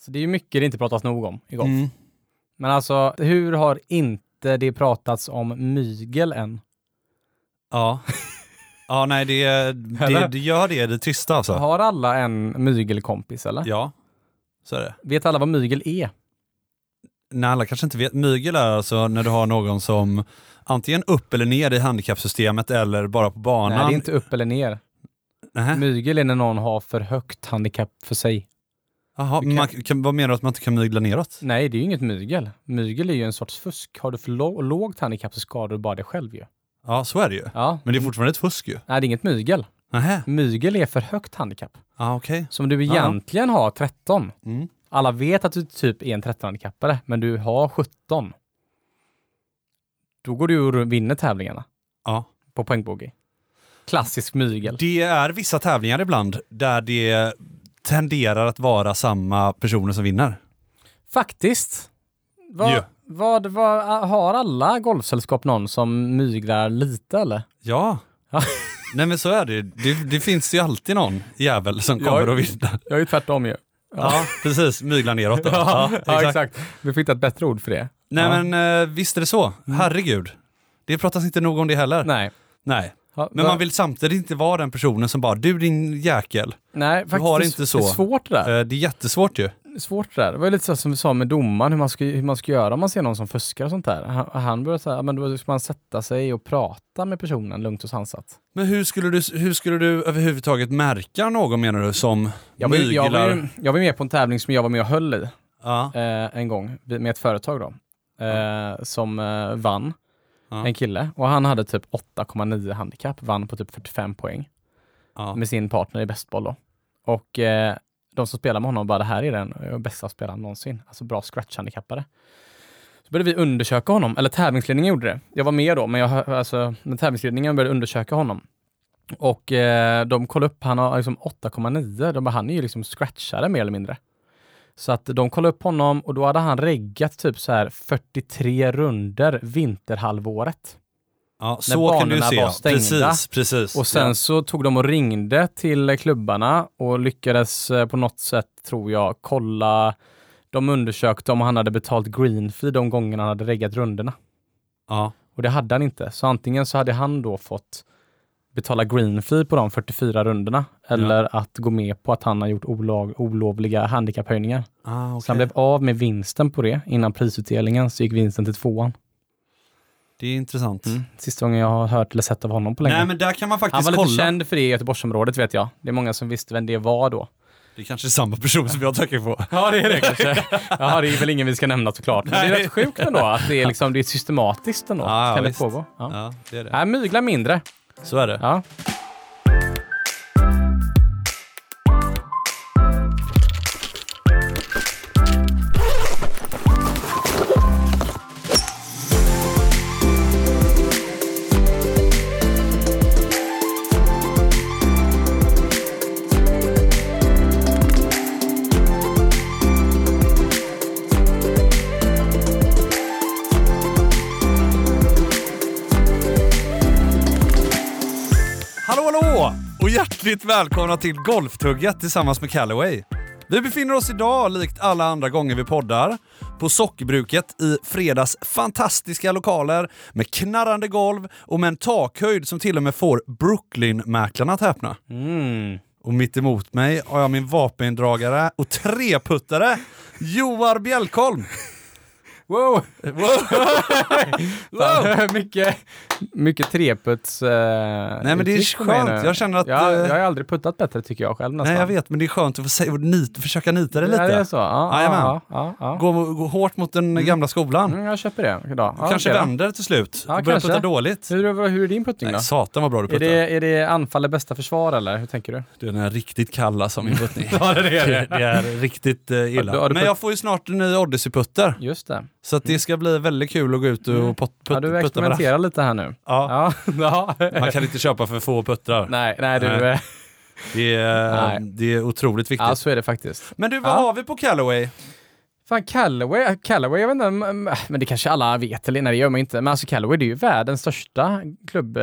Så det är ju mycket det inte pratas nog om i golf. Mm. Men alltså, hur har inte det pratats om mygel än? Ja. Ja, nej, det, det, Eller? det gör det i det tysta alltså. Har alla en mygelkompis eller? Ja, så är det. Vet alla vad mygel är? Nej, alla kanske inte vet. Mygel är alltså när du har någon som antingen upp eller ner i handikappsystemet eller bara på banan. Nej, det är inte upp eller ner. Nähä. Mygel är när någon har för högt handikapp för sig. Jaha, Du kan- man, kan, vad menar du att man inte kan mygla neråt? Nej, det är ju inget mygel. Mygel är ju en sorts fusk. Har du för lå- lågt handikapp så skadar du bara dig själv ju. Ja, så är det ju. Ja. Men det är fortfarande ett fusk ju. Nej, det är inget mygel. Nähä, Mygel är för högt handikapp. ja okej. Som du Ja. egentligen har 13. Mm. Alla vet att du typ är en 13-handikappare, men du har 17. Då går du ju och vinner tävlingarna Ja. på poängbogey. Klassisk mygel. Det är vissa tävlingar ibland där det tenderar att vara samma personer som vinner. Faktiskt. Vad, Ja. vad, vad, har alla golfsällskap någon som myglar lite eller? Ja. Ja. Nej men så är det. det Det finns ju alltid någon jävel som kommer Ja. och vinner. Jag är ju tvärtom ju. Ja, precis. Mygla neråt då. Ja, Ja, exakt. Vi får hitta ett bättre ord för det. Nej Ja. men eh, visst är det så. Herregud. Det pratas inte nog om det heller. Mm. Nej. Nej. Ja, Men va- man vill samtidigt inte vara den personen som bara, du din jäkel. Nej, faktiskt. har det är inte s- så. Det är svårt det där. Eh, Det är jättesvårt ju. svårt det där. Det var ju lite så som vi sa med domaren, hur man ska, hur man ska göra om man ser någon som fuskar och sånt där. Han, han började säga, men då ska man sätta sig och prata med personen lugnt och sansat. Men hur skulle du, hur skulle du överhuvudtaget märka någon menar du som Jag var, ju- myglar? jag, var, ju- jag var med på en tävling som jag var med och höll i Ja, eh, en gång, med ett företag då, eh, som eh, vann. Ja. En kille. Och han hade typ 8,9 handikapp, vann på typ 45 poäng. ja. med sin partner i bästboll då. Och eh, de som spelar med honom bara, det här är den eh, bästa spelaren någonsin. Alltså bra scratch-handikappare. Så började vi undersöka honom, eller tävlingsledningen gjorde det. Jag var med då, men, jag, hö- alltså, men tävlingsledningen började undersöka honom. Och eh, de kollade upp, han har liksom 8,9. De bara, han är ju liksom scratchare mer eller mindre. Så att de kollade upp honom och då hade han reggat typ så här 43 runder vinterhalvåret. ja så kan du banorna se. var ja. stängda. Precis, precis. Och sen Ja. så tog de och ringde till klubbarna och lyckades eh, på något sätt, tror jag, kolla. De undersökte om han hade betalt green fee de gångerna han hade reggat rundorna. Ja. Och det hade han inte. Så antingen så hade han då fått betala green fee på de 44 rundorna eller att gå med på att han har gjort olag, olovliga handikapphöjningar. Så Ah, han okay. blev av med vinsten på det innan prisutdelningen, så gick vinsten till tvåan. Det är intressant. Mm. Sista gången jag har hört eller sett av honom på länge. Nej men där kan man Han faktiskt var lite kolla. känd för det i Göteborgsområdet vet jag. Det är många som visste vem det var då. Det är kanske är samma person som jag tänker på. Ja, det är det kanske. ja, det är väl ingen vi ska nämna såklart. Men det är Nej. rätt sjukt ändå att det är, liksom, det är systematiskt ändå. Ja, ja, kan det visst. pågå. Ja. Ja, det är det. Nej, mygla mindre. Så är det. Ja. Hallå hallå! Och hjärtligt välkomna till Golftugget tillsammans med Callaway. Vi befinner oss idag, likt alla andra gånger vi poddar, på Sockbruket i fredags fantastiska lokaler med knarrande golv och med en takhöjd som till och med får Brooklyn-mäklarna att häpna. Mm. Och mitt emot mig har jag min vapendragare och treputtare Joar Bjälkholm. Wow! Wow. Fan, mycket mycket treputs... Eh, Nej, men det är uttryck på mig skönt. nu. Jag känner att, Jag, eh, jag har aldrig puttat bättre tycker jag själv nästan. Nej jag vet, men det är skönt att få se, och nit, försöka nita det lite. Ja, det är så. Ja, Jajamän. ja, ja, ja. Gå, gå hårt mot den gamla skolan. Mm, jag köper det idag. Ja, kanske okej då. vänder till slut. Ja, Börjar kanske. putta dåligt. Hur, hur är din puttning då? Nej, satan vad bra du Är puttar. det, är det anfall är bästa försvar eller hur tänker du? Du är den här riktigt kalla som min puttning. ja, det, är det. är riktigt eh, illa. Har du- har du Men putt- jag får ju snart en ny Odyssey-putter. Just det. Så att det ska bli väldigt kul att gå ut och Mm. put, put, Ja, du putta med det. experimenterar lite här nu. Ja. Ja. ja. Man kan inte köpa för få puttrar. nej, nej, du. Nej. eh, Det, är, Nej. det är otroligt viktigt. Ja, så är det faktiskt. Men du, vad Ja. har vi på Callaway? Fan, Callaway, Callaway, jag vet inte, mm, men det kanske alla vet, eller nej det gör man inte. Men alltså Callaway, det är ju världens största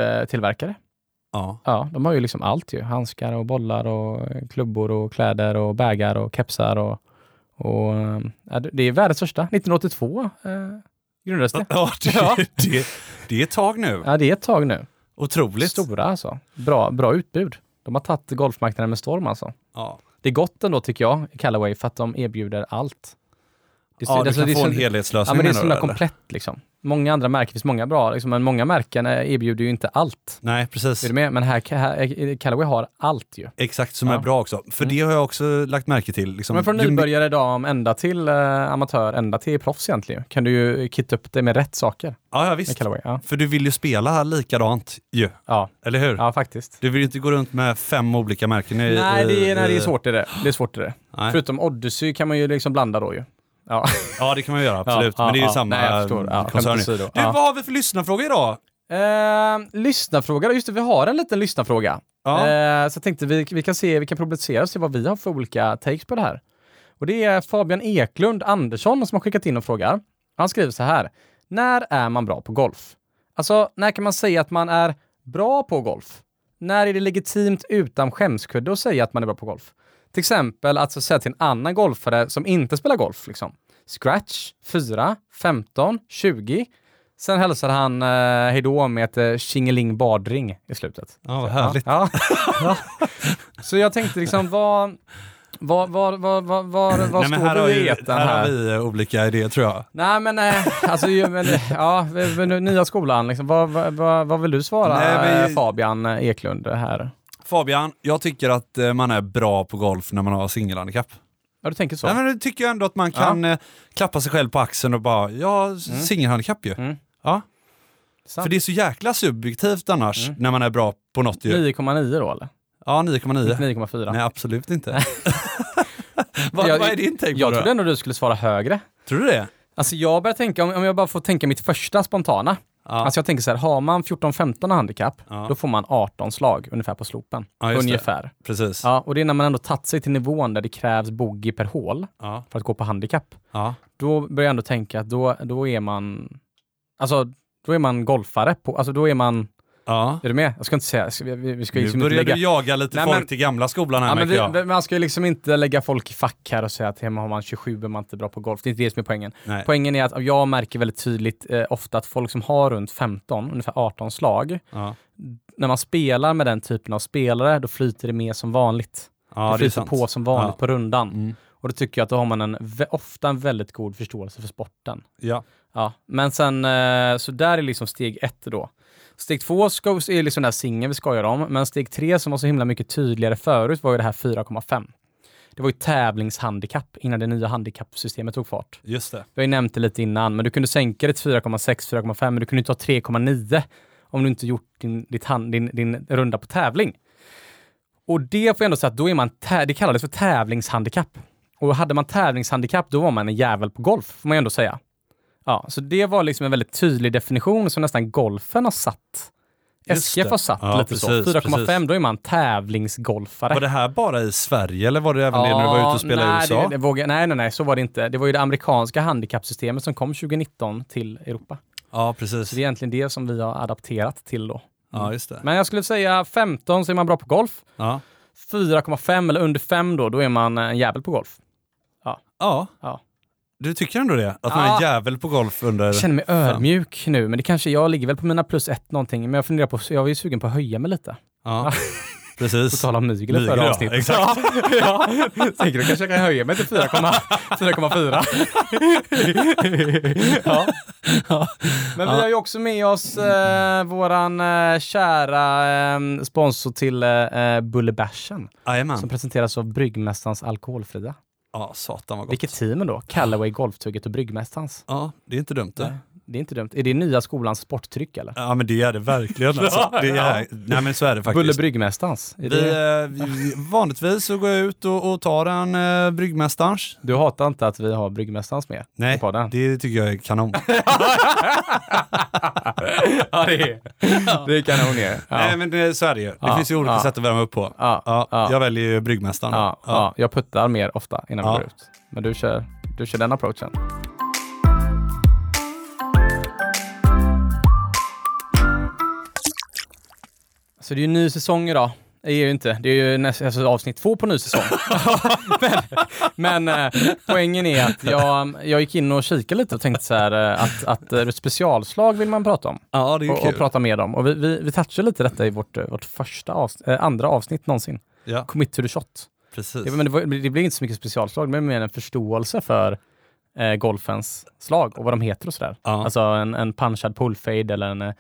klubbtillverkare. Ja. Ja, de har ju liksom allt ju. Handskar och bollar och klubbor och kläder och bägar och kepsar och, Och, eh, ja, det- det är världens största. 1982 eh, grundades det. Ja, det, Ja. Det, det är ett tag nu. Ja, det är ett tag nu. Otroligt. Stora alltså. Bra, bra utbud. De har tagit golfmarknaden med storm alltså. Ja. Det är gott ändå tycker jag, i Callaway, för att de erbjuder allt. Det är så- Ja, du alltså, kan det är få så- en helhetslösning Ja, men det är så himla menar du, eller? komplett liksom. Många andra märken, det finns många bra, liksom, men många märken eh, erbjuder ju inte allt. Nej, precis. Är du med? Men här, här eh, Callaway har allt ju. Exakt, som är Ja. Mm. bra också. För det har jag också lagt märke till. Liksom, Men från ju- nybörjare, dam, ända till eh, amatör, ända till proffs egentligen. Kan du ju kitta upp det med rätt saker Ja, ja, med visst. Callaway. Ja, För du vill ju spela likadant ju, ja, eller hur? ja faktiskt. Du vill ju inte gå runt med fem olika märken i... Nej, det i- är, nej, det är svårt i det. Det är svårt i det. Eh, Nej. Förutom Odyssey kan man ju liksom blanda då ju. Ja. Ja, det kan man göra, absolut. Ja, men det är ju ja, samma nej, jag förstår. Ja, koncern. skämt åsido. Du, Ja. vad har vi för lyssnarfråga idag? Eh, lyssnarfråga, just det, vi har en liten lyssnarfråga. Ja. Eh, så jag tänkte vi, vi kan se, vi kan publicera och se vad vi har för olika takes på det här. Och det är Fabian Eklund Andersson som har skickat in och frågar. Han skriver så här. När är man bra på golf? Alltså, när kan man säga att man är bra på golf? När är det legitimt utan skämskudde att säga att man är bra på golf? Till exempel att så säga till en annan golfare som inte spelar golf, liksom. Scratch, 4, 15, 20. Sen hälsar han eh, hejdå med ett eh, tjingeling badring i slutet. ja, vad härligt. Ja. ja. Så jag tänkte liksom, vad... Vad, vad, vad, vad, vad, vad Nej, men står här, har du i ju, etan här här? har vi eh, olika idéer tror jag. Nej men, eh, alltså, ju, men ja, men nu- nya skolan, liksom, vad, vad, vad, vad vill du svara Nej, men- eh, Fabian Eklund här? Fabian, jag tycker att eh, man är bra på golf när man har singelhandikapp. Ja, du tänker så? Nej, men det tycker jag ändå att man kan eh, klappa sig själv på axeln och bara, ja, singelhandikapp ju. Mm. Ja. Sant. Mm. För det är så jäkla subjektivt annars när man är bra på något ju. 9,9 då eller? Ja, 9,9. 9,4? Nej, absolut inte. vad, Jag- vad är din take Jag på trodde det? ändå du skulle svara högre. Tror du det? Alltså jag börjar tänka, om, om jag bara får tänka mitt första spontana. Ja. Alltså jag tänker så här, har man 14-15 handikapp, Ja. då får man 18 slag ungefär på slopen. Ja, just det. ungefär. Precis. Ja, och det är när man ändå tagit sig till nivån där det krävs bogey per hål Ja. för att gå på handikapp. Ja. Då börjar jag ändå tänka att då, då är man, alltså då är man golfare på, alltså då är man, ja. är du med? Jag ska inte säga, jag ska- vi, vi ska ju Nu liksom inte börjar lägga... du jaga lite Nej, folk men- till gamla skolan här Ja, men märker jag. vi, man ska ju liksom inte lägga folk i fack här och säga att hemma har man 27 är man inte bra på golf. Det är inte det som är poängen. Nej. Eh, Poängen är att jag märker väldigt tydligt eh, ofta att folk som har runt 15, ungefär 18 slag, Ja. när man spelar med den typen av spelare, då flyter det med som vanligt. Ja, det det är flyter sant. på som vanligt Ja. Mm. på rundan. Och då tycker jag att då har man en, vä- ofta en väldigt god förståelse för sporten. Ja. Ja, men sen, eh, så där är liksom steg ett då. Steg två ska, är liksom den här singeln vi skojar om, men steg tre som var så himla mycket tydligare förut var ju det här 4,5. Det var ju tävlingshandikapp innan det nya handikappsystemet tog fart. Just det. Jag har ju nämnt det lite innan, men du kunde sänka det till 4,6, 4,5, men du kunde inte ha 3,9 om du inte gjort din, ditt hand, din, din runda på tävling. Och det får jag ändå säga att då är man, tä- det kallades för tävlingshandikapp. Och hade man tävlingshandikapp, då var man en jävel på golf, får man ju ändå säga. Ja, så det var liksom en väldigt tydlig definition som nästan golfen har satt. Just SKF det. har satt Ja, lite precis, så. 4,5, precis. då är man tävlingsgolfare. Var det här bara i Sverige eller var det även det när du var ute och spelade nej, i USA? Det, det vågar, nej, nej, nej, så var det inte. Det var ju det amerikanska handikappsystemet som kom 2019 till Europa. Ja, precis. Så det är egentligen det som vi har adapterat till då. Ja, just det. Men jag skulle säga 15 så är man bra på golf. Ja. 4,5 eller under 5 då, då är man en jävel på golf. Ja. Ja. Du tycker ändå det? Att man är en Ja. jävel på golf under... Jag känner mig ödmjuk nu, men det kanske, jag ligger väl på mina plus ett någonting, men jag funderar på, jag är ju sugen på att höja mig lite. Ja. Precis. På tal om mygel i Mygel, förra ja, avsnittet. exakt. Ja, ja. Tänker du kanske jag kan höja mig till 4,4. ja. Men vi har ju också med oss eh, våran eh, kära eh, sponsor till eh, eh, Bullebashen som Jajamän. presenteras av Bryggmästarens Alkoholfria. Ja, satan vad gott. Vilket team då? Callaway, Golftugget och Bryggmästarens. Ja, det är inte dumt det. Det är inte dumt. Är det nya skolans sporttryck eller? Ja, men det är det verkligen alltså. Det är... Nej, men så är det Bulle faktiskt. Bryggmästarens? Är Vi, det... eh, vi, vanligtvis så går jag ut och, och tar en eh, bryggmästarens. Du hatar inte att vi har Bryggmästarens med? Nej, i podden? det tycker jag är kanon. Ja, det är, det är kanon det är. ja. Nej, men det, så är det ju. Det Ja, finns ju olika ja. sätt att värma upp på. Ja, Ja, ja. Jag väljer ju bryggmästaren. Ja, ja. jag puttar mer ofta innan Ja. vi går ut. Men du kör, du kör den approachen. Så det är ju ny säsong idag. det är ju inte. Det är ju näst, alltså avsnitt två på ny säsong. men men eh, poängen är att jag, jag gick in och kikade lite och tänkte så här eh, att, att eh, specialslag vill man prata om Ja, det är ju och, och kul. prata med dem. Och vi, vi, vi touchade lite detta i vårt, eh, vårt första avsnitt, eh, andra avsnitt någonsin. ja, Commit to the shot. precis. Det, men det, var, det blev inte så mycket specialslag, men mer en förståelse för eh, golfens slag och vad de heter och sådär. ja, Alltså en, en punchad pullfade eller en eh,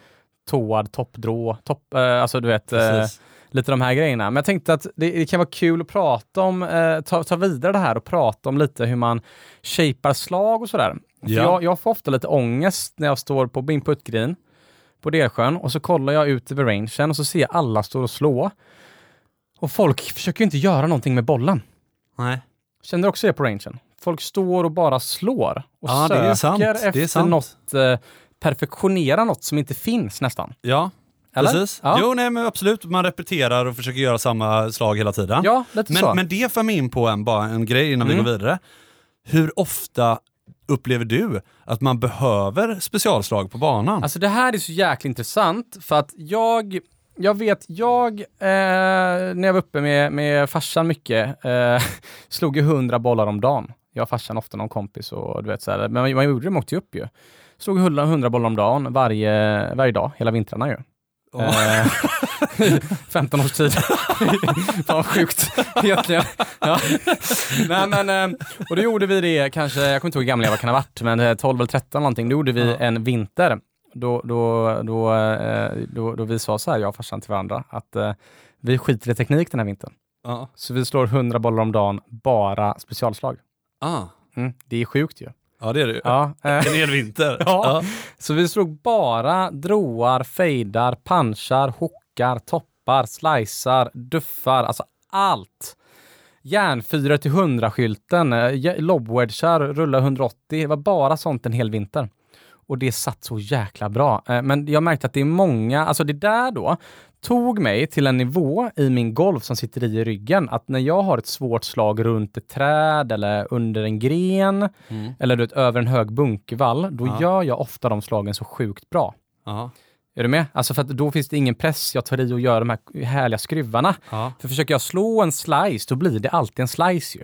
toad toppdrå. Topp, eh, alltså du vet, eh, precis. lite de här grejerna. Men jag tänkte att det, det kan vara kul att prata om, eh, ta, ta vidare det här och prata om lite hur man shapar slag och sådär. För Ja. Jag, jag får ofta lite ångest när jag står på min puttgreen på Delsjön och så kollar jag ut över rangen och så ser jag alla står och slå. Och folk försöker ju inte göra någonting med bollen. Nej. Känner du också det på rangen? Folk står och bara slår och Ja, det söker är sant. Det är efter sant. något, eh, perfektionera något som inte finns nästan. Ja, Eller? precis. Ja. Jo, nej men absolut. Man repeterar och försöker göra samma slag hela tiden. Ja, lite så. Men, men det för mig in på en, bara en grej innan vi Mm. går vidare. Hur ofta upplever du att man behöver specialslag på banan? Alltså det här är så jäkla intressant för att jag, jag vet, jag, eh, när jag var uppe med, med farsan mycket, eh, slog ju hundra bollar om dagen. Jag och farsan ofta någon kompis och du vet så här, men man, man gjorde det, man åkte ju upp ju. Slog hundra, hundra bollar om dagen varje, varje dag, hela vintrarna ju. Åh. Eh, 15 års tid. Fan vad sjukt egentligen. Ja. Nej, men, eh, och då gjorde vi det kanske, jag kommer inte ihåg hur gamla jag var, kan ha varit, men eh, 12 eller 13 någonting. Då gjorde vi Ja. en vinter. Då, då, då, eh, då, då vi sa så här, jag och farsan till varandra, att eh, vi skiter i teknik den här vintern. ja. Så vi slår 100 bollar om dagen, bara specialslag. Ah. Mm. Det är sjukt ju. ja, det är det ju. Ja, eh, En hel vinter. Ja. så vi slog bara droar, fejdar, punchar, hookar, toppar, slicear, duffar, alltså allt. Järnfyror till 100-skylten, eh, ja- lobwedgar, rulla 180. Det var bara sånt en hel vinter. Och det satt så jäkla bra. Eh, Men jag märkte att det är många, alltså det där då, tog mig till en nivå i min golf som sitter i i ryggen, att när jag har ett svårt slag runt ett träd eller under en gren, Mm. eller du vet, över en hög bunkervall, då Ja. gör jag ofta de slagen så sjukt bra. Ja. Är du med? Alltså för att då finns det ingen press, jag tar i och gör de här härliga skruvarna. Ja. För försöker jag slå en slice, då blir det alltid en slice ju.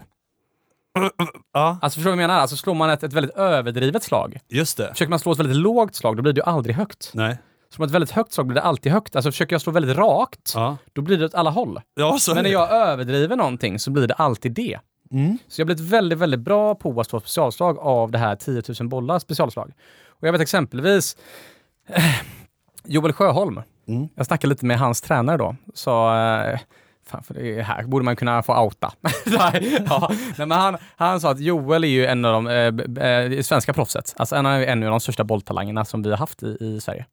ja, Alltså förstår du vad jag menar? Alltså slår man ett, ett väldigt överdrivet slag, just det. försöker man slå ett väldigt lågt slag, då blir det ju aldrig högt. Nej. Slår man ett väldigt högt slag blir det alltid högt. Alltså försöker jag slå väldigt rakt, Ja. då blir det åt alla håll. Ja, så är Men när det. jag överdriver någonting så blir det alltid det. Mm. Så jag har blivit väldigt, väldigt bra på att slå specialslag av det här 10 000 bollar specialslag. Och jag vet exempelvis eh, Joel Sjöholm. Mm. Jag snackade lite med hans tränare då. Sa, eh, fan för det här borde man kunna få outa. Nej, ja. Nej, men han, han sa att Joel är ju en av de eh, b- eh, det svenska proffset. Alltså en av, en av de största bolltalangerna som vi har haft i, i Sverige.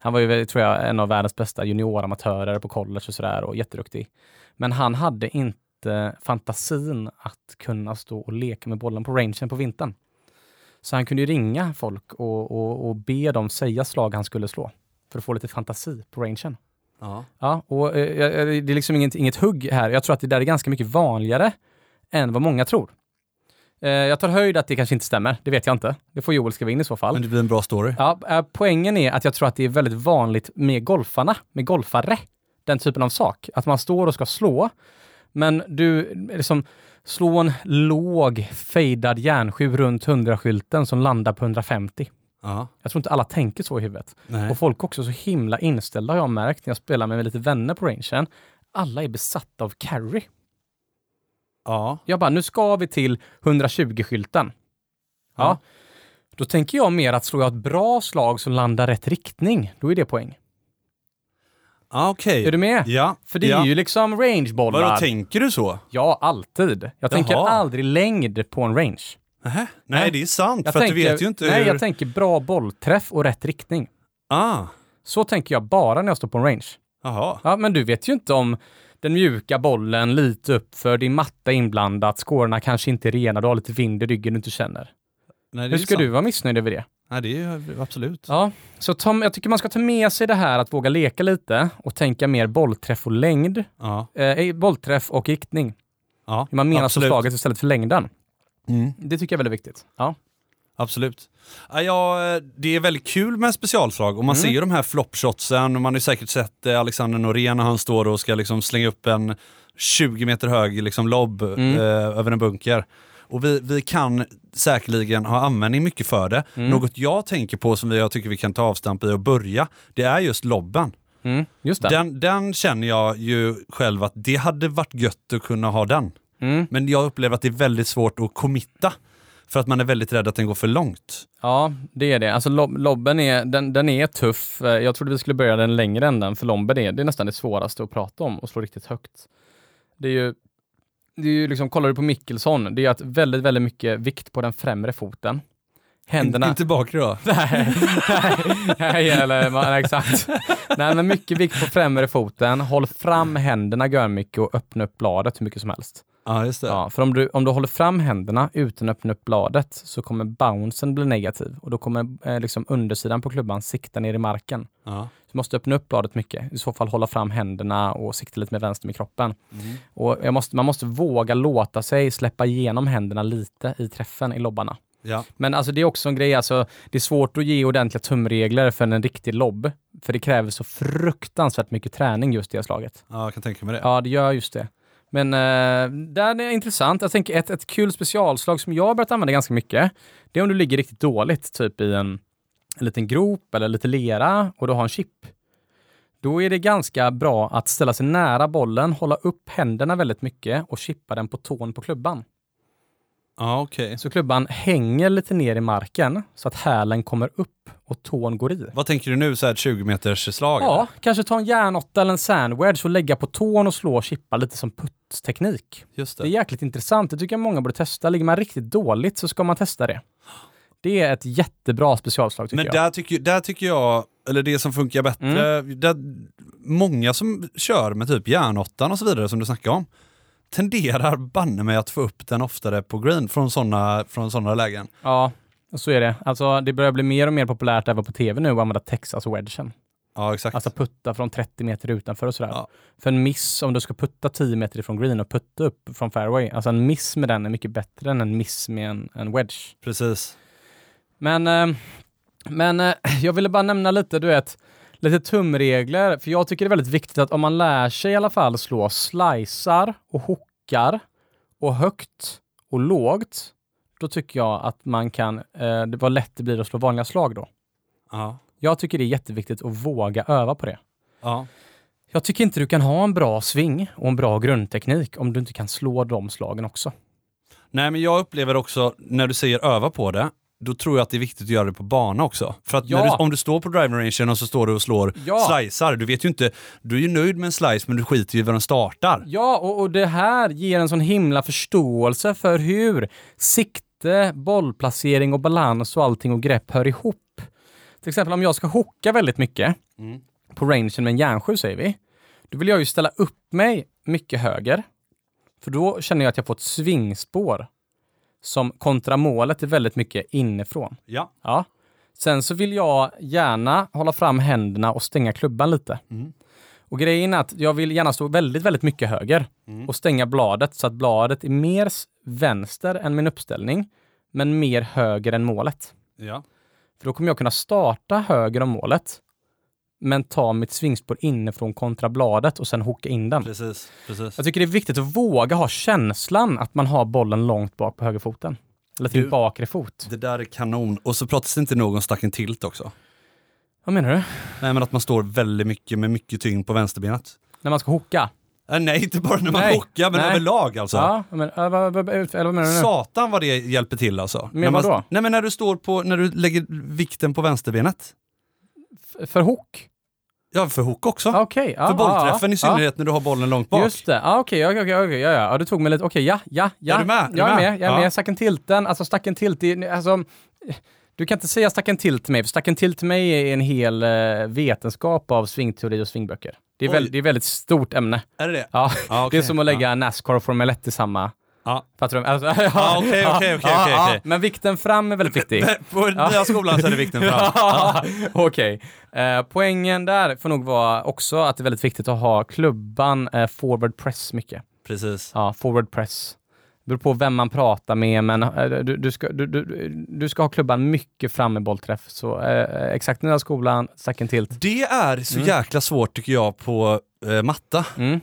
Han var ju, tror jag, en av världens bästa junioramatörer på college och sådär och jätteduktig. Men han hade inte fantasin att kunna stå och leka med bollen på rangen på vintern. Så han kunde ju ringa folk och, och, och be dem säga slag han skulle slå för att få lite fantasi på rangen. Ja. Ja, och eh, jag- jag- det är liksom inget, inget hugg här. Jag tror att det där är ganska mycket vanligare än vad många tror. Eh, Jag tar höjd att det kanske inte stämmer, det vet jag inte. Det får Joel skriva in i så fall. Men det blir en bra story. Ja, eh, poängen är att jag tror att det är väldigt vanligt med golfarna, med golfare, den typen av sak. Att man står och ska slå, men du liksom slå en låg fejdad järnsju runt 100-skylten som landar på 150. Ja. Jag tror inte alla tänker så i huvudet. Nej. Och folk är också så himla inställda har jag märkt när jag spelar med lite vänner på rangen. Alla är besatta av carry. Ja. Jag bara, nu ska vi till 120-skylten. Ja. Ja. Då tänker jag mer att slår jag ett bra slag som landar rätt riktning, då är det poäng. Ja, okej. Är du med? Ja. För det är ja. ju liksom Vadå, rangebollar. tänker du så? Ja, alltid. Jag tänker Jaha. aldrig längd på en range. Nähä. Nej, det är sant. Jag för tänker, att du vet ju inte nej, hur... jag tänker bra bollträff och rätt riktning. ah. Så tänker jag bara när jag står på en range. Jaha. Ja, men du vet ju inte om den mjuka bollen lite upp för din matta är inblandat, skårorna kanske inte är rena, du har lite vind i ryggen du inte känner. Nej, det Hur är ska sant. du vara missnöjd över det? Nej, det är ju absolut. Ja, så ta, jag tycker man ska ta med sig det här att våga leka lite och tänka mer bollträff och längd. Ja. Eh, bollträff och riktning. ja. Hur man menar absolut. på slaget istället för längden. Mm. Det tycker jag är väldigt viktigt. Ja. Absolut. Ja, ja, det är väldigt kul med specialslag Mm. och man ser ju de här flopshotsen och man har ju säkert sett eh, Alexander Norén när han står och ska liksom slänga upp en 20 meter hög liksom lobb Mm. eh, över en bunker. Och vi, vi kan säkerligen ha användning mycket för det. Mm. Något jag tänker på som vi- jag tycker vi kan ta avstamp i och börja, det är just lobben. Mm, just det. Den, den känner jag ju själv att det hade varit gött att kunna ha den. Mm. Men jag upplever att det är väldigt svårt att committa. För att man är väldigt rädd att den går för långt. Ja, det är det. Alltså lob- lobben är, den, den är tuff. Eh, Jag trodde vi skulle börja den längre änden, för lobben är, det är nästan det svåraste att prata om och slå riktigt högt. Det är ju, det är ju liksom, kollar du på Mickelson, det är att väldigt, väldigt mycket vikt på den främre foten. Händerna... Inte bakre då? Nej, nej, nej, eller, nej, exakt. Nej, men mycket vikt på främre foten. Håll fram händerna görmycket och öppna upp bladet hur mycket som helst. Ja, just det. Ja, för om du, om du håller fram händerna utan att öppna upp bladet så kommer bouncen bli negativ och då kommer eh, liksom undersidan på klubban sikta ner i marken. Ja. Du måste öppna upp bladet mycket. I så fall hålla fram händerna och sikta lite med vänster med kroppen. Och jag måste, man måste våga låta sig släppa igenom händerna lite i träffen i lobbarna. Ja. Men alltså, det är också en grej, alltså, det är svårt att ge ordentliga tumregler för en riktig lobb. För det kräver så fruktansvärt mycket träning just det slaget. ja, jag kan tänka mig det. Ja, det gör just det. Men eh, där är intressant. Jag tänker ett, ett kul specialslag som jag har börjat använda ganska mycket, det är om du ligger riktigt dåligt, typ i en, en liten grop eller lite lera och du har en chip. Då är det ganska bra att ställa sig nära bollen, hålla upp händerna väldigt mycket och chippa den på tån på klubban. Ja, okej. Så klubban hänger lite ner i marken så att hälen kommer upp och tån går i. Vad tänker du nu, så här 20 meters slag? Ja, kanske ta en järnåtta eller en sandwedge och lägga på tån och slå och chippa lite som puttteknik. Just Det är det. jäkligt intressant. Det tycker jag många borde testa. Ligger man riktigt dåligt så ska man testa det. Det är ett jättebra specialslag tycker Men jag. Mm. där tycker, där tycker jag, eller det som funkar bättre, där, många som kör med typ järnåttan och så vidare som du snackade om, tenderar banne mig att få upp den oftare på green från sådana från såna lägen. Ja, så är det. Alltså, det börjar bli mer och mer populärt även på tv nu att använda Texas-wedgen. Ja, exakt. Alltså putta från 30 meter utanför och sådär. Ja. För en miss, om du ska putta 10 meter ifrån green och putta upp från fairway, alltså en miss med den är mycket bättre än en miss med en, en wedge. Precis. Men, eh, men eh, jag ville bara nämna lite, du vet, lite tumregler. För jag tycker det är väldigt viktigt att om man lär sig i alla fall slå slicer och hookar och högt och lågt, då tycker jag att man kan, eh, det var lätt det blir att slå vanliga slag då. Ja. Jag tycker det är jätteviktigt att våga öva på det. ja. Jag tycker inte du kan ha en bra sving och en bra grundteknik om du inte kan slå de slagen också. Nej, men jag upplever också, när du säger öva på det, då tror jag att det är viktigt att göra det på bana också. För att när Ja. du, om du står på driving rangen och så står du och slår Ja. slicear, du vet ju inte, du är ju nöjd med en slice men du skiter ju i var den startar. Ja, och, och det här ger en sån himla förståelse för hur sikte, bollplacering och balans och allting och grepp hör ihop. Till exempel om jag ska hooka väldigt mycket på rangen med en järnsju säger vi, då vill jag ju ställa upp mig mycket höger. För då känner jag att jag får ett svingspår som kontra målet är väldigt mycket inifrån. Ja. Ja. Sen så vill jag gärna hålla fram händerna och stänga klubban lite. Mm. Och grejen är att jag vill gärna stå väldigt, väldigt mycket höger Mm. och stänga bladet så att bladet är mer s- vänster än min uppställning, men mer höger än målet. ja. För då kommer jag kunna starta höger om målet, men ta mitt svingspår inifrån kontra bladet och sen hooka in den. Precis. precis. Jag tycker det är viktigt att våga ha känslan att man har bollen långt bak på högerfoten. Eller till Du- bakre fot. Det där är kanon. Och så pratas det inte nog om stacken tilt också. Vad menar du? Nej, men att man står väldigt mycket med mycket tyngd på vänsterbenet. När man ska hooka? Äh, nej, inte bara när man Nej. hockar, men Nej. överlag alltså. Ja, men äh, vad, vad, eller vad menar du nu? Satan vad det hjälper till alltså. Men när man, vadå? Nej men när du står på, när du lägger vikten på vänsterbenet. F- För hook? Ja, för hook också. Okej. ja, För bollträffen ja, i synnerhet när du har bollen långt Ja. bak. Just det. Ah, Okej, okej, okej. okej, ja, ja. ja, du tog mig lite. Okej, ja, ja, ja. Är du med? Är du Jag är med? med. Jag är Ja. med. Stacken tilten. Alltså stacken tilt. det är- Alltså, du kan inte säga stacken tilt till mig, för stacken tilt till mig är en hel eh, vetenskap av svingteori och svingböcker. Det är, Oj. väl, det är ett väldigt stort ämne. Är det det? Ja. Ja, okej. Det är som att lägga Nascar och Formel 1 i samma... Ja. Fattar du? Alltså, ja, Ja, Ah, okej, ja, okej, okej, ja, okej, ja. okej. Men vikten fram är väldigt viktig. Eh, På den nya skolan så är det vikten fram. Ja, Okej. Eh, poängen där får nog vara också att det är väldigt viktigt att ha klubban eh, forward press mycket. Precis. Ja, forward press. beror på vem man pratar med, men eh, du, du, ska, du, du, du ska ha klubban mycket fram i bollträff. Så eh, exakt den där skolan, second tilt. Det är så Mm. jäkla svårt tycker jag på eh, matta. Mm.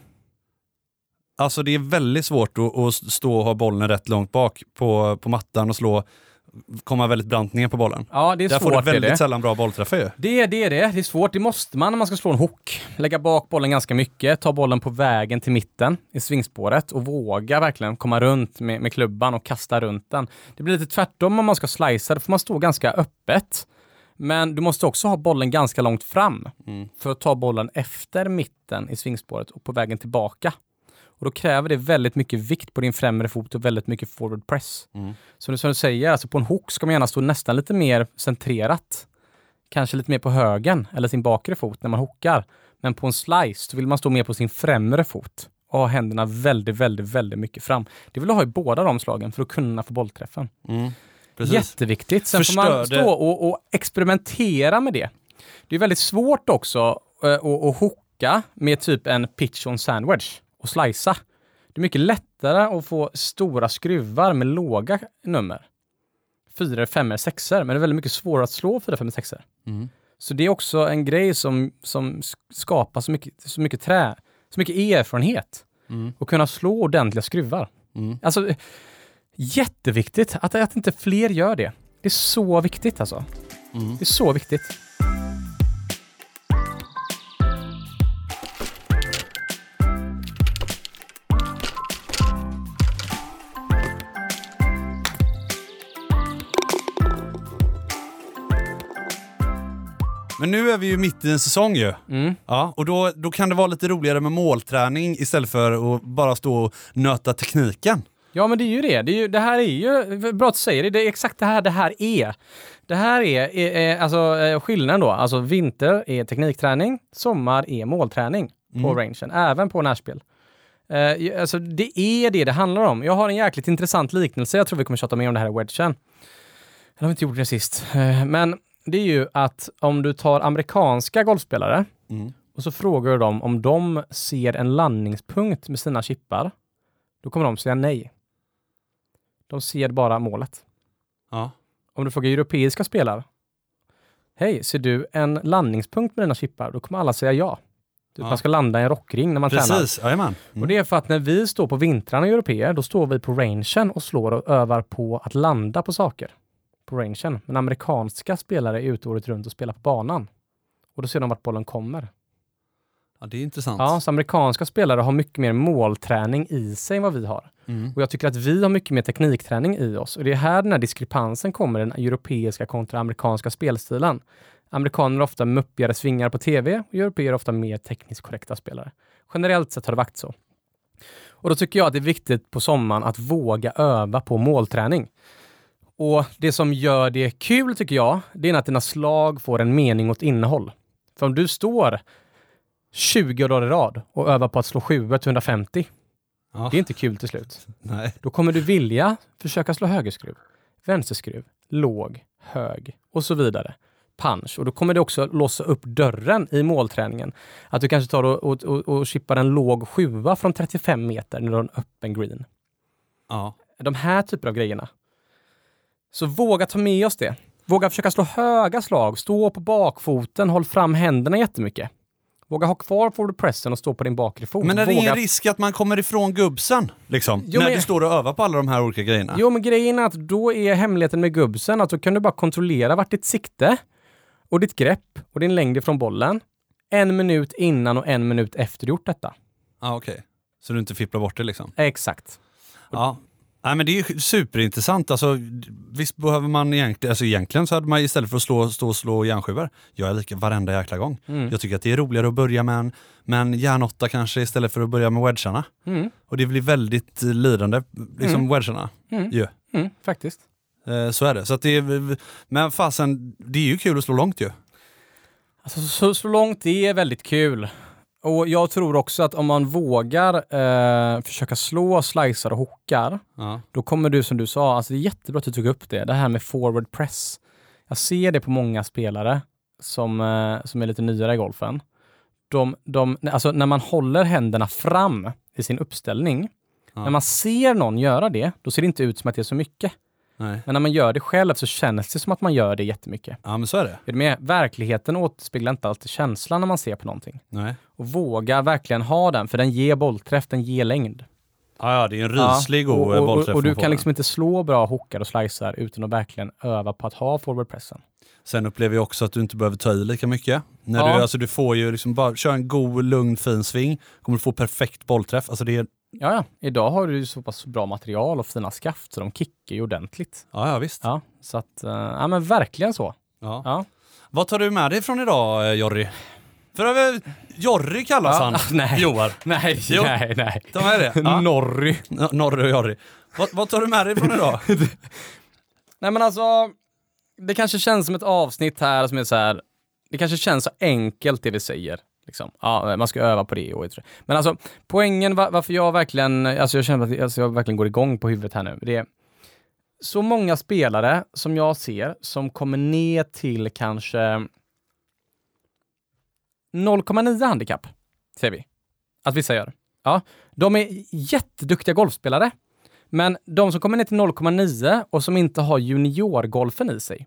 Alltså det är väldigt svårt att, att stå och ha bollen rätt långt bak på, på mattan och slå, komma väldigt brant ner på bollen. Ja, det är Där får du svårt. Det är väldigt det. sällan bra bollträffar ju. Det, är det är det. Det är svårt. Det måste man när man ska slå en hook. Lägga bak bollen ganska mycket, ta bollen på vägen till mitten i svingspåret och våga verkligen komma runt med, med klubban och kasta runt den. Det blir lite tvärtom om man ska slicea. Då får man stå ganska öppet. Men du måste också ha bollen ganska långt fram för att ta bollen efter mitten i svingspåret och på vägen tillbaka. Och då kräver det väldigt mycket vikt på din främre fot och väldigt mycket forward press. Så som du säger, alltså på en hook ska man gärna stå nästan lite mer centrerat kanske lite mer på högen eller sin bakre fot när man hookar. Men på en slice så vill man stå mer på sin främre fot och ha händerna väldigt, väldigt, väldigt mycket fram. Det vill du ha i båda de slagen för att kunna få bollträffen. Precis. Jätteviktigt. Sen får man Förstörde- stå och, och experimentera med det. Det är väldigt svårt också eh, att att hooka med typ en pitch on sandwich och slicea. Det är mycket lättare att få stora skruvar med låga nummer. Fyror, femmor, sexor. Men det är väldigt mycket svårare att slå fyra, femmor, sexor. Mm. Så det är också en grej som, som s- skapar så mycket, så mycket trä, så mycket erfarenhet. Mm. Och kunna slå ordentliga skruvar. Mm. Alltså, eh, jätteviktigt att, att inte fler gör det. Det är så viktigt alltså. Mm. Det är så viktigt. Men nu är vi ju mitt i en säsong ju. Mm. Ja, och då, då kan det vara lite roligare med målträning istället för att bara stå och nöta tekniken. Ja, men det är ju det. Det, är ju, det här är ju, bra att du säger det, det är exakt det här det här är. Det här är, är, är alltså eh, skillnaden då. Alltså vinter är teknikträning, sommar är målträning på rangen, även på närspel. Eh, ju- alltså det är det det handlar om. Jag har en jäkligt intressant liknelse, jag tror vi kommer tjata mer om det här i wedgen. Eller har vi inte gjort det sist. Eh, men det är ju att om du tar amerikanska golfspelare Mm. och så frågar du dem om de ser en landningspunkt med sina chippar, då kommer de säga nej. De ser bara målet. Ja. Om du frågar europeiska spelare. Hej, ser du en landningspunkt med dina chippar? Då kommer alla säga ja. Du, Ja. Man ska landa i en rockring när man tränar. Precis, jajamän. Och Mm. det är för att när vi står på vintrarna i europeer, då står vi på rangen och slår och övar på att landa på saker. På rangen. Men amerikanska spelare är ute året runt och spelar på banan. Och då ser de vart bollen kommer. Ja, det är intressant. Ja, så amerikanska spelare har mycket mer målträning i sig än vad vi har. Mm. Och jag tycker att vi har mycket mer teknikträning i oss. Och det är här den här diskrepansen kommer, den europeiska kontra amerikanska spelstilen. Amerikaner har ofta muppigare svingar på tv och européer har ofta mer tekniskt korrekta spelare. Generellt sett har det varit så. Och då tycker jag att det är viktigt på sommaren att våga öva på målträning. Och det som gör det kul tycker jag, det är att dina slag får en mening och ett innehåll. För om du står 20 dagar i rad och övar på att slå 7 150, Ja. det är inte kul till slut. Nej. Då kommer du vilja försöka slå högerskruv, vänsterskruv, låg, hög och så vidare. Punch. Och då kommer det också låsa upp dörren i målträningen. Att du kanske tar och, och, och, och chippar en låg sjua från 35 meter när du har en öppen green. Ja. De här typer av grejerna. Så våga ta med oss det. Våga försöka slå höga slag, stå på bakfoten, håll fram händerna jättemycket. Våga ha kvar forward pressen och stå på din bakre fot. Men är det Våga ingen risk att man kommer ifrån gubbsen? Liksom, Jo, när men- du står och övar på alla de här olika grejerna? Jo, men grejen är att då är hemligheten med gubbsen att då kan du bara kontrollera vart ditt sikte och ditt grepp och din längd ifrån bollen en minut innan och en minut efter du gjort detta. Ja, okej. Så du inte fipplar bort det liksom? Exakt. Ja. Nej, men det är ju superintressant. Alltså, visst behöver man egentligen, alltså egentligen så hade man istället för att slå, stå och slå järnsjuor, jag är lika varenda jäkla gång. Mm. Jag tycker att det är roligare att börja med en, med en järnåtta kanske istället för att börja med wedgarna. Mm, Och det blir väldigt eh, lidande, liksom wedgarna. Mm. Ju. mm, faktiskt. Eh, så är det. Så att det är, men fasen, det är ju kul att slå långt ju. Alltså, så, så långt det är väldigt kul. Och jag tror också att om man vågar eh, försöka slå slicer och hookar, Ja. då kommer du som du sa, alltså det är jättebra att du tog upp det, det här med forward press. Jag ser det på många spelare som, eh, som är lite nyare i golfen. De, de, alltså när man håller händerna fram i sin uppställning Ja. När man ser någon göra det, då ser det inte ut som att det är så mycket. Nej. Men när man gör det själv så känns det som att man gör det jättemycket. Ja, men så är det. Är du med? Verkligheten återspeglar inte alltid känslan när man ser på någonting. Nej. Och våga verkligen ha den, för den ger bollträff, den ger längd. Ja, ja, det är en ryslig Ja, god och, och, och, bollträff och du man får kan där. liksom inte slå bra hookar och slicer utan att verkligen öva på att ha forwardpressen. Sen upplever jag också att du inte behöver ta i lika mycket. När Ja. du, alltså, du får ju liksom bara köra en god, lugn, fin sving. kommer du få perfekt bollträff. Alltså, det är, Ja, ja. Idag har du ju så pass bra material och fina skaft så de kickar ju ordentligt. ja, ja, visst. Ja, så att, eh, ja men verkligen så. Ja. Ja. Vad tar du med dig från idag, eh, Jorry? För över... Jorry kallas Ja. han. Nej. Joar. Nej, Jo. nej, nej. De är det? Ja. Norry. N- Norry och Jorry. Vad, vad tar du med dig från idag? Nej men alltså, det kanske känns som ett avsnitt här som är så här. Det kanske känns så enkelt det vi säger. Liksom. Ja, man ska öva på det. Och det. Men alltså, poängen va- varför jag verkligen, alltså jag känner att alltså jag verkligen går igång på huvudet här nu. Det är så många spelare som jag ser som kommer ner till kanske 0,9 handikapp, säger vi. Att vissa gör. Ja, de är jätteduktiga golfspelare. Men de som kommer ner till 0,9 och som inte har juniorgolfen i sig.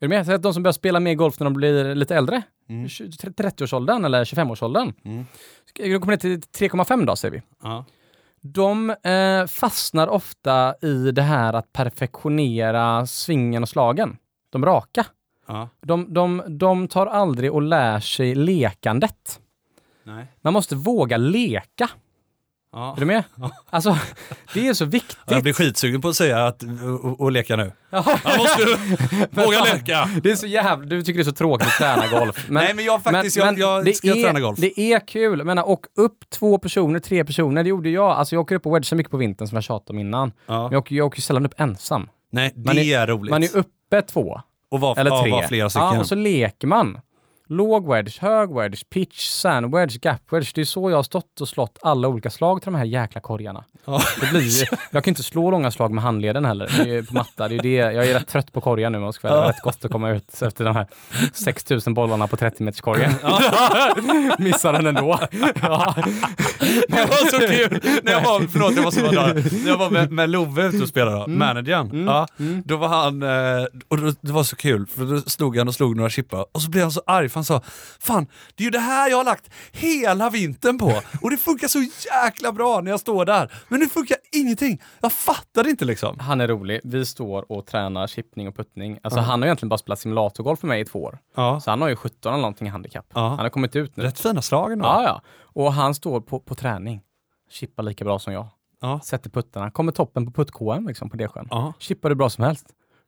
Är du med? Så att de som börjar spela mer golf när de blir lite äldre, Mm. 20 30-årsåldern eller 25-årsåldern, Mm. de kommer ner till 3,5 då, säger vi. Ja. De eh, fastnar ofta i det här att perfektionera svingen och slagen. De raka. Ja. De, de, de tar aldrig och lär sig lekandet. Nej. Man måste våga leka. Ja. Är du med? Ja. Alltså, det är så viktigt. Jag blir skitsugen på att säga att, och, och leka nu. Ja. Jag måste våga leka! Det är så jävla... Du tycker det är så tråkigt att träna golf. Men, Nej men jag faktiskt, jag, jag ska är, träna golf. Det är kul. Jag menar, och upp två personer, tre personer, det gjorde jag. Alltså jag åker upp och wedgar mycket på vintern som jag tjatade om innan. Ja. Men jag åker, jag åker ju sällan upp ensam. Nej, det Man är, roligt. Man är uppe två, och vara eller ja, tre. vara flera stycken. Ja, och så leker man. Låg wedge, hög wedge, pitch, sand wedge, gap wedge. Det är så jag har stått och slått alla olika slag till de här jäkla korgarna. Ja. Det blir, ju- jag kan inte slå långa slag med handleden heller det är ju på matta. Det är ju det. Jag är rätt trött på korgar nu om jag ska vara ärlig. Det är rätt gott att komma ut efter de här 6000 bollarna på 30-meterskorgen. Missar den ändå. Ja. Det var så kul! När jag var, förlåt, jag måste vara där. Jag var med, med Love ute och spelade Mm. då, managern. Ja, då var han, eh, och då, det var så kul, för då stod han och slog några chippar och så blev han så arg för han sa Fan, det är ju det här jag har lagt hela vintern på och det funkar så jäkla bra när jag står där. Men nu funkar ingenting. Jag fattar inte liksom. Han är rolig. Vi står och tränar chippning och puttning. Alltså, Han har egentligen bara spelat simulatorgolf med mig i två år. Ja. Så han har ju 17 eller någonting i handikapp. Ja. Han har kommit ut nu. Rätt fina slag ändå. Ja, ja. Och han står på, på träning. Chippar lika bra som jag. Ja. Sätter puttarna. Kommer toppen på putt-KM liksom, på Delsjön. Ja. Chippar hur bra som helst.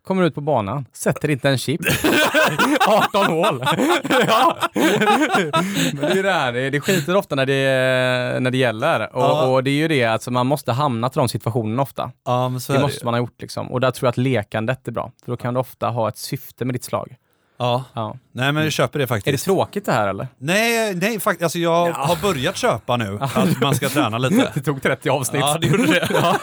Kommer ut på banan. Sätter inte en chip. 18 hål. ja. Men det är det här. Det det skiter ofta när det, när det gäller. Och, Ja. och det är ju det, alltså, man måste hamna till de situationerna ofta. Ja, men så är Det det måste ju. man ha gjort liksom. Och där tror jag att lekandet är bra. För då kan du ofta ha ett syfte med ditt slag. Ja. Ja. Nej men jag köper det faktiskt. Är det tråkigt det här eller? Nej, nej faktiskt. Alltså jag har börjat köpa nu att man ska träna lite. Det tog 30 avsnitt. Ja, det gjorde det. Ja.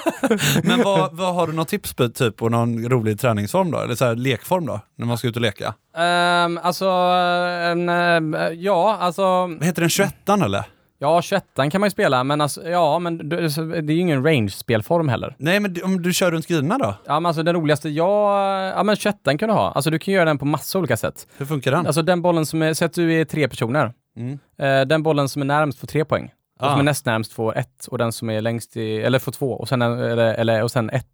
Men vad, vad har du något tips på, typ, på någon rolig träningsform då? Eller så här, lekform då? När man ska ut och leka? Ehm, alltså, ehm, ehm, ja, alltså, Vad heter den? 21 eller? ja, 21 kan man ju spela, men alltså, ja, men du- så det är ju ingen range-spelform heller. Nej, men du- om du kör runt grinerna då? Ja, men alltså den roligaste, ja, ja men 21 kan du ha. Alltså du kan göra den på massa olika sätt. Hur funkar den? Alltså den bollen som är, säg att du är tre personer. Mm. Eh, den bollen som är närmst får tre poäng. Den Ah. som är näst närmst får ett och den som är längst i, eller får två och sen, en- eller, eller, och sen ett.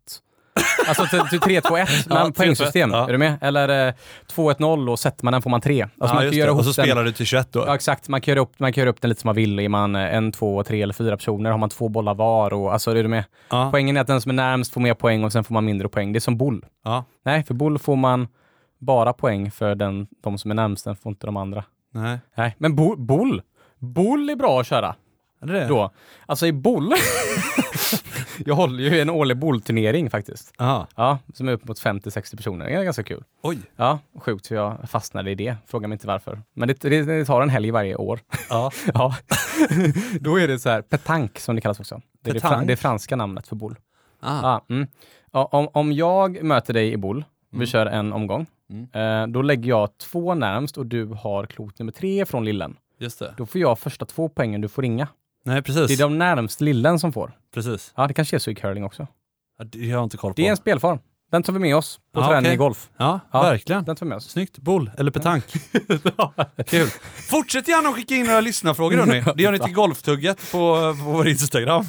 Alltså t- t- 3, 2, 1, Ja, men poängsystem. 3-2-1, ja. Är du med? Eller eh, 2, 1, 0 och sätter man den får man tre. Alltså Ja, man just kan det. göra ihop och så den. spelar du till 21 då? Ja, exakt. Man kan, göra upp, man kan göra upp den lite som man vill. Är man eh, en, två, tre eller fyra personer har man två bollar var. Och, alltså, är du med? Ja. Poängen är att den som är närmst får mer poäng och sen får man mindre poäng. Det är som boll. Ja. Nej, för boll får man bara poäng för den, de som är närmst, sen får inte de andra. Nej. Nej, men bo, boll. Boll är bra att köra Är det det? då. Alltså i boll... jag håller ju i en årlig bollturnering faktiskt. Aha. Ja, som är uppemot 50-60 personer. Det är ganska kul. Oj. Ja, sjukt hur jag fastnade i det. Fråga mig inte varför. Men det, det, det tar en helg varje år. Ja. Ja, då är det så här, petanque som det kallas också. Det är det, Petanque? fran- det franska namnet för boule. Ah. Ja, mm. Ja, om, om jag möter dig i boule, Mm. vi kör en omgång, eh, då lägger jag två närmst och du har klot nummer tre från lillen. Just det. Då får jag första två poängen, du får inga. Nej, precis. Det är de närmst lillen som får. precis. Ja, det kanske är så i curling också. Ja, Det har jag inte koll på. Det är en spelform. Den tar vi med oss på Ja, träning okej. i golf. Ja, Ja. verkligen. Den tar vi med oss. Snyggt. Boll eller petank. Kul. Fortsätt gärna att skicka in era lyssnarfrågor hörni. Det gör ni till golftugget på, på vår Instagram.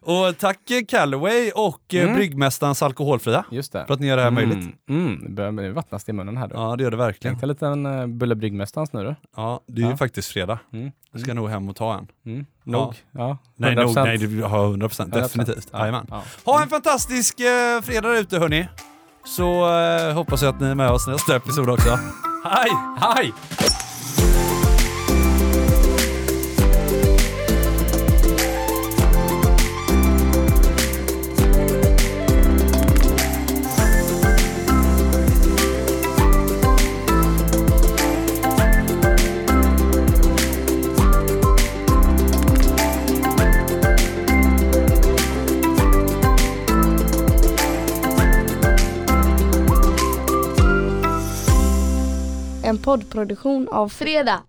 Och tack eh, Callaway och mm. Mm. Bryggmästarens Alkoholfria Just det. för att ni gör det här möjligt. Mm, mm. Det börjar nu vattnas det i munnen här du. Ja, det gör det verkligen. Tänk dig en liten uh, Bulle Bryggmästarens nu du. Ja, det är ju Ja. faktiskt fredag. Mm. Jag ska nog hem och ta en. Mm. Nog. Ja. Nej, 100%. nog, nej, du har 100 procent. 100%. Definitivt. Jajamän. Ja. Ha en fantastisk eh, fredag där ute hörni. Så eh, hoppas jag att ni är med oss nästa episod också. Hej! Hej! En poddproduktion av Fredag.